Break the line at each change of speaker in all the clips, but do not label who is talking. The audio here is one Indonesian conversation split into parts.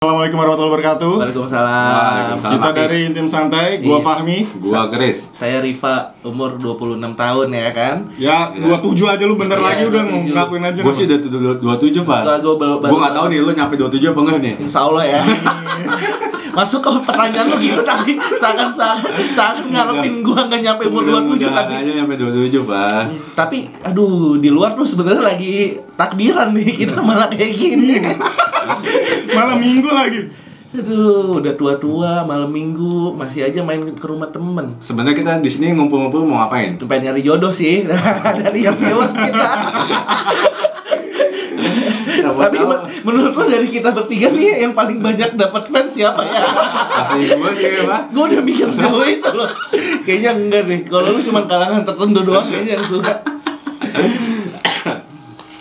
Assalamualaikum warahmatullahi wabarakatuh.
Waalaikumsalam.
Waalaikumsalam.
Kita
Pak Pi.
dari Intim Santai, gua
Iya.
Fahmi.
Gua Chris.
Saya Riva, umur 26 tahun ya kan.
Ya,
Iya.
27 aja lu bentar
Iya,
lagi udah
27.
ngakuin aja.
Gua
nama.
sih udah tu- dua- 27, Pak.
Soalnya gua baru- baru-
Gua nggak tahu nih lu nyampe 27 apa enggak nih.
Insya Allah ya. Masuk ke pertanyaan lu gitu tadi seakan seakan seakan ngarepin gua nggak nyampe umur kan, 27
Mudah-mudahan
tadi.
aja nyampe 27, Pak.
Tapi aduh di luar tuh sebenarnya lagi takbiran nih kita malah kayak gini.
malam Minggu lagi.
Aduh udah tua-tua malam minggu masih aja main ke rumah temen.
Sebenarnya kita di sini ngumpul-ngumpul mau ngapain?
Pengen nyari jodoh sih dari yang viewers kita.
Siapa
Tapi
tahu.
men- menurut lo dari kita bertiga nih yang paling banyak dapat fans siapa ya?
Asli gua sih, Pak.
Gue udah mikir sejauh itu loh. Kayaknya enggak deh. Kalau lu cuma kalangan tertentu doang kayaknya yang suka.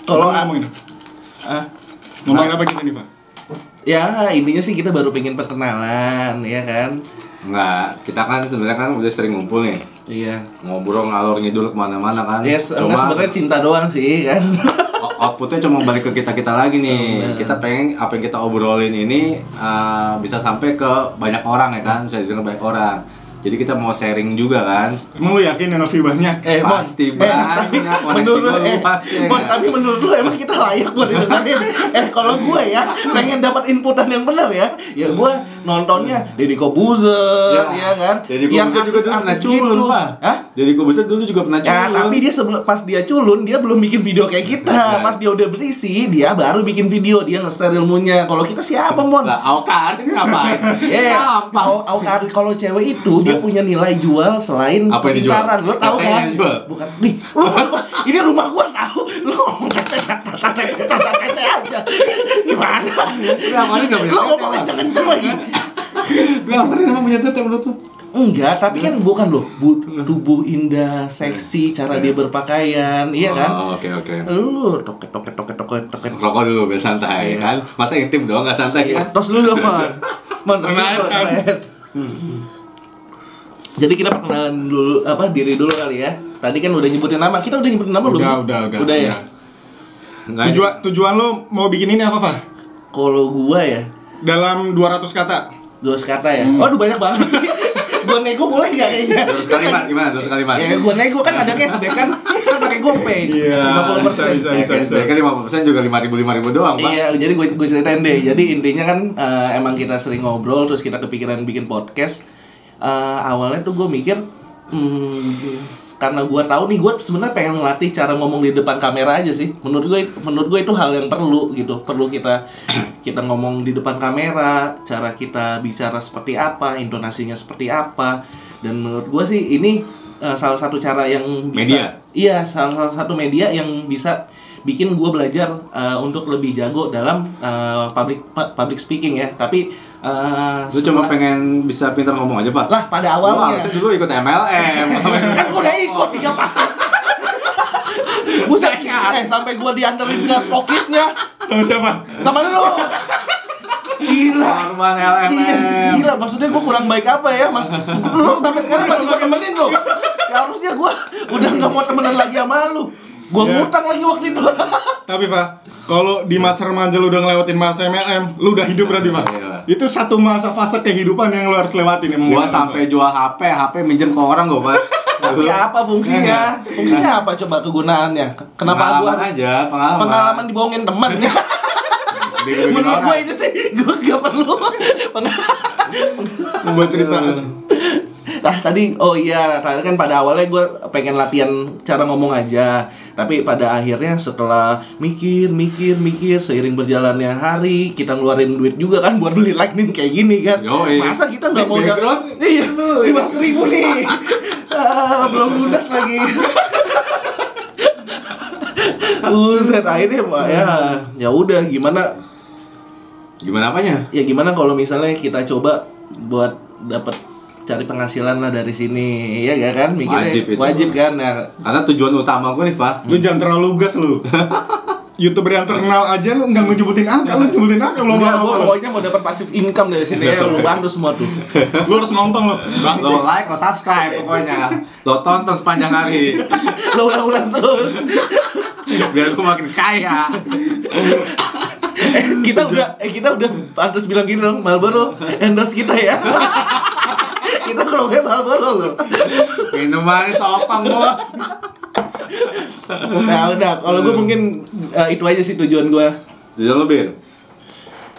Kalau
Tolong ngomongin.
ah,
Ngomongin apa kita nih, Pak?
ya intinya sih kita baru pengen perkenalan ya kan?
Enggak, kita kan sebenarnya kan udah sering ngumpul nih.
Iya.
Ngobrol ngalor ngidul kemana-mana kan.
Ya se- enggak sebenarnya cinta doang sih kan.
out- outputnya cuma balik ke kita kita lagi nih.
Bener.
Kita pengen apa yang kita obrolin ini eh, bisa sampai ke banyak orang ya kan, bisa didengar banyak orang. Jadi kita mau sharing juga kan.
Emang lu yakin yang lebih banyak?
Eh, Mon, eh,
Pasti banyak,
tapi menurut
koneksi gua
eh,
lupas, ya
Mon,
nggak?
tapi menurut lu emang kita layak buat didengerin. eh, kalau gue ya pengen dapat inputan yang benar ya. Ya gue nontonnya Deddy Kobuzer, ya, kan.
Jadi gua
Yang
juga dulu pernah
artis-artis
culun,
gitu.
Pak.
Hah?
Jadi gua dulu juga pernah culun.
Ya, tapi dia sebelum pas dia culun dia belum bikin video kayak kita.
Ya.
Pas dia udah berisi, dia baru bikin video, dia nge-share ilmunya. Kalau kita siapa, Mon?
lah Aukar ngapain?
Eh,
Sampah.
au- au- kar- kan, kalau cewek itu dia punya nilai jual selain
Apa yang dijual?
pintaran. Lo tahu
Tete
kan?
yang dijual?
Bukan. Nih, lu ini rumah gua tahu. Lu ngomong tete tete tete tete tete aja. Gimana?
Udah, kemarin nggak punya
Lu
tete,
ngomong
Bang.
kenceng-kenceng lagi.
Tapi Aukar emang punya tete menurut lu?
Enggak, tapi kan bukan loh. Bu- tubuh indah, seksi, cara
Iya.
dia berpakaian, iya kan?
Oh, Oke oke.
Lu toket toket toket toket toket.
Rokok dulu biar
Iya.
santai kan. Masa intim doang nggak santai kan?
Tos dulu dong, Mon. Mon, tos dulu,
Menarik,
Mon.
kan?
Hmm. Jadi kita perkenalan dulu apa diri dulu kali ya. Tadi kan udah nyebutin nama. Kita udah nyebutin nama belum?
Udah,
sih?
udah, udah,
Udah ya.
udah. Tujuan tujuan lu mau bikin ini apa, Pak?
Kalau gua ya,
Dalam 200 kata.
dua kata ya.
Hmm.
Waduh banyak banget. gua nego boleh gak kayaknya?
Terus kalimat gimana? Terus kalimat.
Ya gua nego kan ada cashback kan. Kan pakai GoPay.
Iya,
50%.
bisa, bisa, bisa.
Mereka lima persen juga lima ribu lima ribu doang pak.
Iya, jadi gue gue ceritain deh. Jadi intinya kan eh, emang kita sering ngobrol terus kita kepikiran bikin podcast. Eh, awalnya tuh gue mikir hmm, karena gue tahu nih gue sebenarnya pengen ngelatih cara ngomong di depan kamera aja sih. Menurut gue menurut gue itu hal yang perlu gitu. Perlu kita kita ngomong di depan kamera, cara kita bicara seperti apa, intonasinya seperti apa. Dan menurut gue sih ini eh, salah satu cara yang bisa
Media.
Iya, salah, salah satu media yang bisa bikin gue belajar eh, untuk lebih jago dalam eh, public pu- public speaking ya. Tapi eh,
Lu cuma
setelah-
pengen bisa pintar ngomong aja pak.
lah pada
Lu
awalnya
harusnya dulu ikut MLM.
kan gue udah ikut tiga paket. Buset, eh, sampai gue dianterin ke stokisnya
Sama siapa?
sama lu. Gila.
Norman
Iya,
LMM.
gila maksudnya gue kurang baik apa ya mas lu sampai sekarang masih gue temenin lo ya harusnya gue udah nggak mau temenan lagi sama lu gue
Iya.
Ya.
ngutang lagi waktu itu
Tapi, Pak, kalau di masa remaja lu udah ngelewatin masa MLM, lu udah hidup berarti, Pak.
Iya.
Itu satu masa fase kehidupan yang lu harus lewatin emang.
Gua sampai jual HP, HP minjem ke orang gua pak.
tapi Iya, apa fungsinya fungsinya apa coba kegunaannya kenapa
Kenapa
gue
Eh. pengalaman aja pengalaman.
pengalaman dibohongin temen
Bego-begoin
menurut
orang.
gue itu sih gue gak perlu Peng-
membuat cerita
Iya.
aja.
Nah tadi oh iya tadi kan pada awalnya gue pengen latihan cara ngomong aja tapi pada akhirnya setelah mikir mikir mikir seiring berjalannya hari kita ngeluarin duit juga kan buat beli lightning kayak gini kan
Yoi.
masa kita nggak mau
Background?
iya lima ribu nih Ah, belum lunas lagi Buset akhirnya Pak, ya ya udah gimana
Gimana apanya?
ya gimana kalau misalnya kita coba buat dapat cari penghasilan lah dari sini ya gak kan mikirnya
Wajib itu.
wajib kan nah,
Karena tujuan utama gue nih pak.
Lu jangan terlalu gas lu. Youtuber yang terkenal aja lu nggak ngejebutin angka, lu nyebutin angka
Iya,
lu
Enggak,
mau
gua
apa? lu.
pokoknya mau dapat pasif income dari sini ya lu bantu semua tuh
Lu harus nonton lu. Bang,
Lo like, lo subscribe pokoknya. Lo tonton sepanjang hari.
lu ulang-ulang terus
Biar gue makin kaya.
Eh, kita udah eh kita udah pantas bilang gini dong Marlboro endorse kita ya kita kalau kayak Marlboro loh
Minumannya sopang bos.
nah udah kalau gue mungkin eh, itu aja sih tujuan gue
Jadi
Iya,
lebih.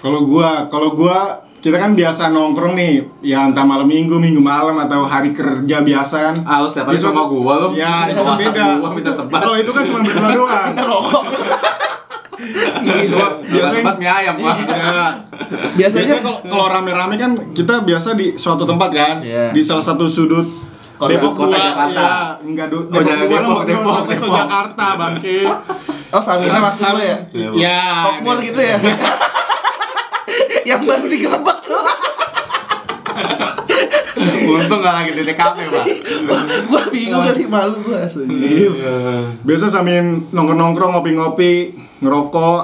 Kalau gua, kalau gua kita kan biasa nongkrong nih, ya entah malam minggu, minggu malam atau hari kerja biasa kan.
Ah, lu setiap
Di
hari
suatu-
sama gua lu.
Ya, itu kan
Masak
beda.
Gua minta sebat.
Kalau itu kan cuma berdua doang.
ngerokok
Cuma
Minta
biasanya-
sebat mie ayam, Pak.
Iya.
biasanya
Biasanya kalau- kalau rame-rame kan kita biasa di suatu tempat kan,
Iya.
di salah satu sudut
Kota-
Depok
kota
dua,
Jakarta.
ya, enggak du-
Oh, jangan
dua,
Depok,
Depok,
Depok,
Depok,
Depok.
Jakarta, bangke.
oh sambilnya maksimal ya
ya,
Pokmor
ini.
gitu ya yang baru digerebek loh
Untung gak lagi di TKP, Pak.
gue bingung kali malu gue asli
Iya,
Iya,
Biasa sambil nongkrong-nongkrong, ngopi-ngopi, ngerokok,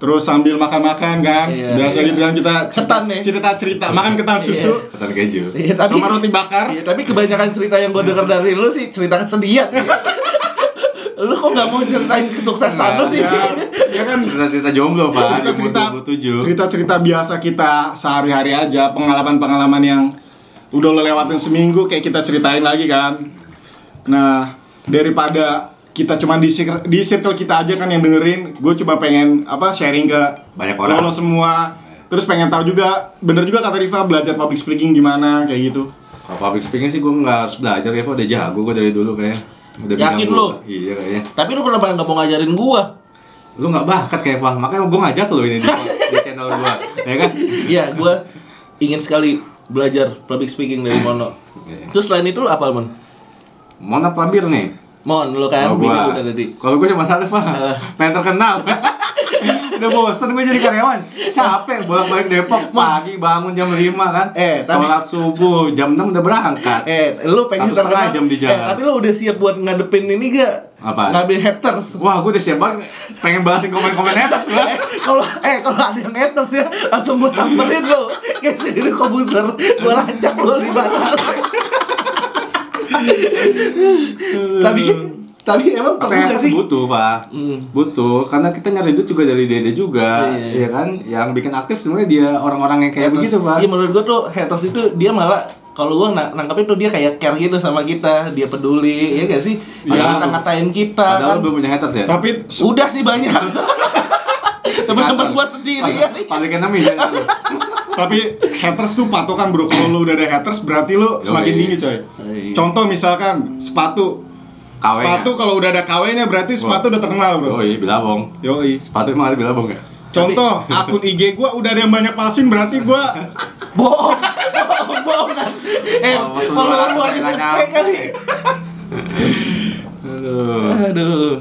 terus sambil makan-makan kan.
Iya,
Biasa
iya.
gitu kan kita
Ketan nih.
cerita-cerita, makan ketan susu
Ketan keju.
Iya, tapi
sama roti bakar.
Iya, tapi kebanyakan cerita yang gue denger dari lu sih cerita kesedihan sih. lu kok nggak mau ceritain kesuksesan lu sih?
Ya,
Iya,
ya kan
Cerita-cerita jomblo, Pak.
cerita-cerita
Cerita-cerita.
cerita-cerita biasa kita sehari-hari aja, pengalaman-pengalaman yang udah lo lewatin seminggu kayak kita ceritain lagi kan. Nah, daripada kita cuman di circle, di circle kita aja kan yang dengerin, gue cuma pengen apa sharing ke
Banyak orang.
lo- lo semua. Terus pengen tahu juga, bener juga kata Riva belajar public speaking gimana kayak gitu.
Kalau public speaking sih gua gak harus belajar ya, Pak. Udah jago gua dari dulu kayaknya. Udah bidang
Yakin
gua.
lu?
Iya kayaknya.
Tapi lu kenapa nggak mau ngajarin gua?
Lu gak bakat kayak Pak. Makanya gua ngajak lu ini di, di channel gua. Ya kan?
Iya, gua ingin sekali belajar public speaking dari Mono. Terus selain itu lu apa, Mon?
Mau apa bir nih?
Mon, lu kan
Kalau
bini
Oh, gua-
udah tadi.
Kalau gua cuma satu, Pak.
Eh.
Pengen terkenal. Udah bosen gue jadi karyawan. Capek bolak-balik Depok pagi bangun jam 5 kan.
Eh, tapi-
Sholat subuh jam 6 udah berangkat.
Eh, lu pengen
Satu setengah
terkenal
jam di jalan.
Eh, tapi lu udah siap buat ngadepin ini gak?
Apaan?
Ngambil haters.
Wah, gue udah siap banget pengen bahasin komen-komen atas gua.
Eh, kalau eh kalau ada yang haters ya langsung gua samperin lo. Kayak sendiri komputer, gua lacak lo di mana. tapi tapi emang perlu
Ternyata
gak sih?
butuh, Pak.
Hmm.
Butuh karena kita nyari duit juga dari dede juga,
Iya.
ya kan? Yang bikin aktif sebenarnya dia orang-orang yang kayak
Haters.
begitu, Pak.
Iya menurut gua tuh haters itu dia malah kalau gua na- nangkepin tuh dia kayak care gitu sama kita, dia peduli, ya gak sih?
Iya.
Ada ngatain kita.
Padahal lu
kan.
belum punya haters ya.
Tapi
Udah sih banyak. Teman-teman gua sendiri ya.
Public enemy ya. lu.
Tapi haters tuh patokan bro. Kalau lu udah ada haters berarti lu semakin
Yoi.
tinggi coy.
Yoi.
Contoh misalkan sepatu.
KW -nya.
Sepatu kalau udah ada KW-nya berarti sepatu udah terkenal bro.
Oh iya, bilabong.
Yoi.
Sepatu emang ada bilabong ya?
Contoh akun IG gua udah ada yang banyak palsuin berarti gua
bohong bohong bohong kan eh
Oh, maksud
kalau kan,
lu
lu aja
nggak
sampai
nyampe.
kali
Aduh.
aduh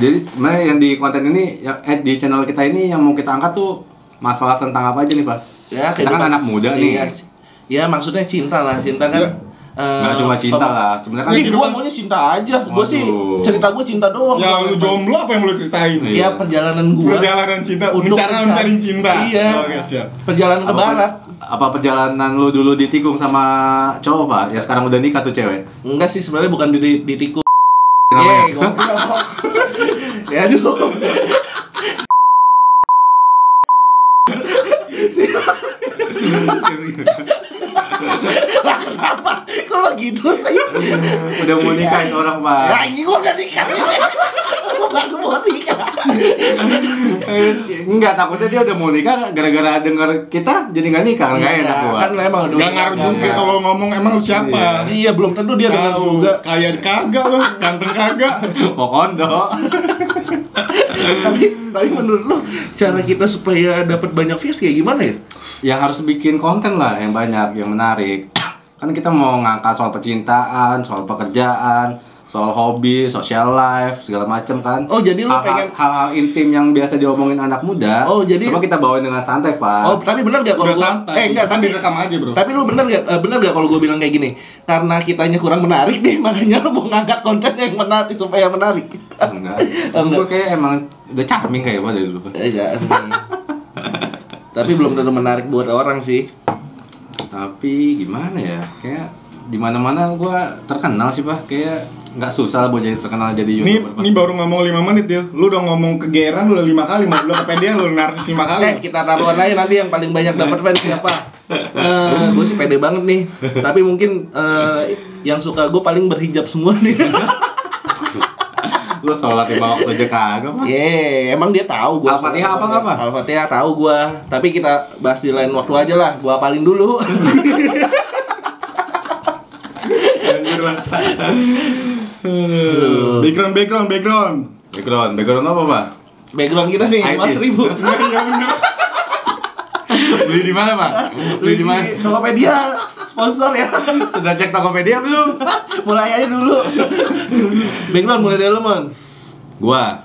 Jadi sebenarnya yang di konten ini, yang, eh, di channel kita ini yang mau kita angkat tuh masalah tentang apa aja nih pak?
ya
kita kan
kehidupan-
anak muda nih, Iya.
Iya, sih. ya maksudnya cinta lah cinta kan
Ya.
eh,
nggak cuma cinta
pem-
lah. Sebenarnya kan
Ih, gua
Kehidupan-
maunya cinta aja. Gua sih
Waduh.
cerita gua cinta doang.
ya
Soalnya.
lu jomblo apa yang lu ceritain?
Iya.
Ya perjalanan gua.
Perjalanan cinta,
Untuk
cara
mencari-
mencari cinta.
Iya.
Oke, siap.
Perjalanan ke
apa,
barat.
apa perjalanan lu dulu ditikung sama cowok pak? Ya sekarang udah nikah tuh cewek.
Enggak sih sebenarnya bukan di di- ditiku.
Namanya.
Yeay, Eh, goblok. ya aduh. Lah kenapa? Kalau gitu sih.
udah mau nikah itu orang pak.
Ya ini gua udah nikah. Gua baru mau nikah. iya.
Enggak takutnya dia udah mau nikah gara-gara denger kita jadi nggak nikah nggak enak pak.
Kan emang udah
Gak ngaruh
nikah.
juga kalau ngomong emang lu siapa?
Iya, belum tentu dia dengar
Tahu,
juga.
kaya kagak lu, ganteng kagak.
mau kondo.
tapi tapi menurut lu cara kita supaya dapat banyak views kayak gimana ya?
ya harus bikin konten lah yang banyak yang menarik kan kita mau ngangkat soal percintaan soal pekerjaan soal hobi social life segala macam kan
Oh, jadi lu
Hal-hal-
pengen-
hal-hal intim yang biasa diomongin anak muda
Oh, jadi-
coba kita bawain dengan santai pak
Oh, tapi benar gak kalau
Udah
gua
santai.
Eh, enggak,
kan
tapi
direkam aja, Bro.
Tapi lu bener gak, eh, bener gak kalau gue bilang kayak gini? Karena kitanya kurang menarik nih, makanya lu mau ngangkat konten yang menarik supaya menarik.
enggak
Oh,
gue kayak emang udah charming kayak pak dari dulu Pak.
Eh, ya, hmm. tapi belum tentu menarik buat orang sih.
tapi gimana ya kayak di mana mana gue terkenal sih pak kayak nggak susah lah buat jadi terkenal jadi
Iya,
Ini,
youtuber.
ini baru ngomong 5 menit ya. Lu udah ngomong kegeeran udah 5 kali, mau belum kepedean lu narsis 5 kali.
Eh, kita taruhan aja nanti yang paling banyak dapat fans siapa. Eh, gue sih pede banget nih. Tapi mungkin eh, yang suka gue paling berhijab semua nih.
Lu sholat di bawah aja kagak mah.
Ye, emang dia tahu gue.
Al-Fatihah apa nggak apa?
Al-Fatihah tahu gue. Tapi kita bahas di lain waktu aja lah. Gue apalin dulu.
Anjir lah. background, background, background.
Background, background apa pak?
Background kita nih,
IT.
Mas Ribu.
Ya
Beli di mana pak? Beli di mana?
Tokopedia sponsor ya.
Sudah cek Tokopedia belum?
mulai aja dulu. Background mulai dari lu, Mon.
Gua,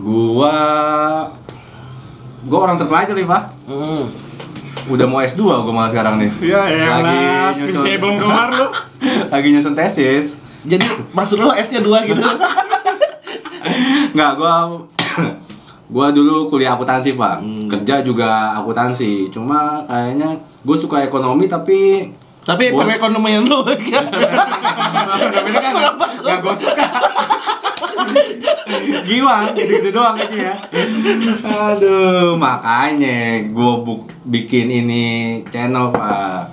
gua, gua orang terpelajar nih pak.
Hmm.
Udah mau S2 gua malah sekarang nih.
Ya elah,
Lagi
skripsi
nyusun.
belum kelar lu.
Lagi nyusun tesis.
Jadi maksud lu S-nya dua gitu.
Nggak, gua gua dulu kuliah akuntansi, Pak. Kerja juga akuntansi. Cuma kayaknya gua suka ekonomi tapi
Tapi
Boleh.
perekonomian lu
ekonomi kan nggak- nggak gua suka. Giwang, gitu-gitu doang aja ya. Aduh, makanya gua buk- bikin ini channel, Pak.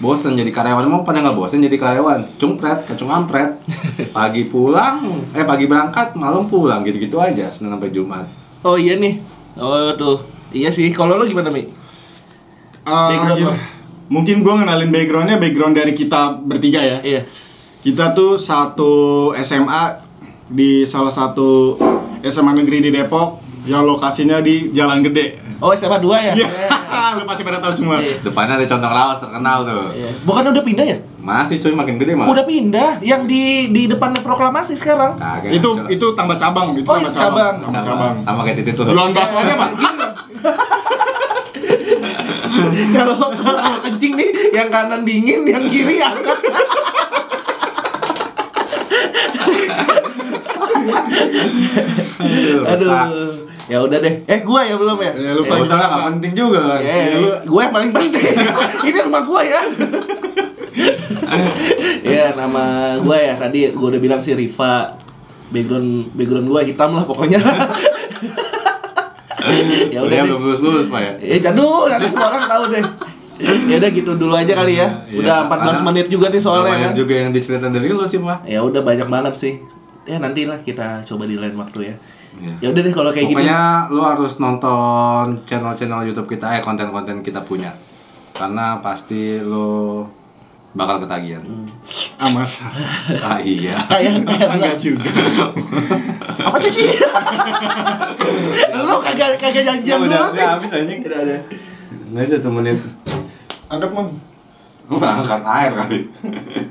Bosen jadi karyawan, emang pada nggak bosen jadi karyawan? Cungpret, kacung ampret. Pagi pulang, eh pagi berangkat, malam pulang, gitu-gitu aja, Senin sampai Jumat.
Oh iya nih. Oh tuh. Iya sih. Kalau lu gimana, Mi?
Ah,
Background
gimana?
apa?
Mungkin gua ngenalin backgroundnya background dari kita bertiga ya.
Iya.
Kita tuh satu SMA di salah satu SMA negeri di Depok yang lokasinya di Jalan Gede.
Oh, SMA 2 ya?
Iya, lu pasti pada tahu semua.
Iya.
Depannya ada condong rawas terkenal tuh.
Iya. Bukan udah pindah ya?
Masih cuy makin gede mah.
Udah pindah yang di di depannya proklamasi sekarang.
Kagak.
Itu
Coba.
itu tambah cabang, itu
Oh,
tambah
itu
cabang.
cabang.
Tambah cabang.
Sama kayak titik tuh.
Jualan baksonya Pak.
Kalau kalau kencing nih yang kanan dingin, yang kiri hangat.
Aduh. rusak.
Aduh. Ya udah deh. Eh, gua ya belum ya?
Ya, lu
Lupa
Pak.
salah nggak penting juga kan.
Eh, gue yang paling penting. Ini rumah gue ya. ya nama gue ya tadi gue udah bilang si Riva background background gue hitam lah pokoknya ya udah
Kuliah
deh
belum lulus lulus pak ya.
ya jadul nanti semua orang tahu deh ya udah gitu dulu aja kali ya
Iya,
udah
karena
14 menit juga nih soalnya
Banyak
kan.
juga yang diceritain dari lu sih pak.
ya udah banyak banget sih ya nantilah kita coba di lain waktu ya
Iya.
ya udah deh kalau kayak gini
Pokoknya lu harus nonton channel-channel YouTube kita eh konten-konten kita punya. Karena pasti lu bakal ketagihan.
Hmm.
Ah, masa.
Ah iya.
kayak kayak
Enggak juga.
apa cuci lu kagak kagak janjian
Udah,
dulu
udah
sih Ya
habis anjing. Udah ada. Nggak aja temenin.
Angkat, Mam.
Lu angkat air kali.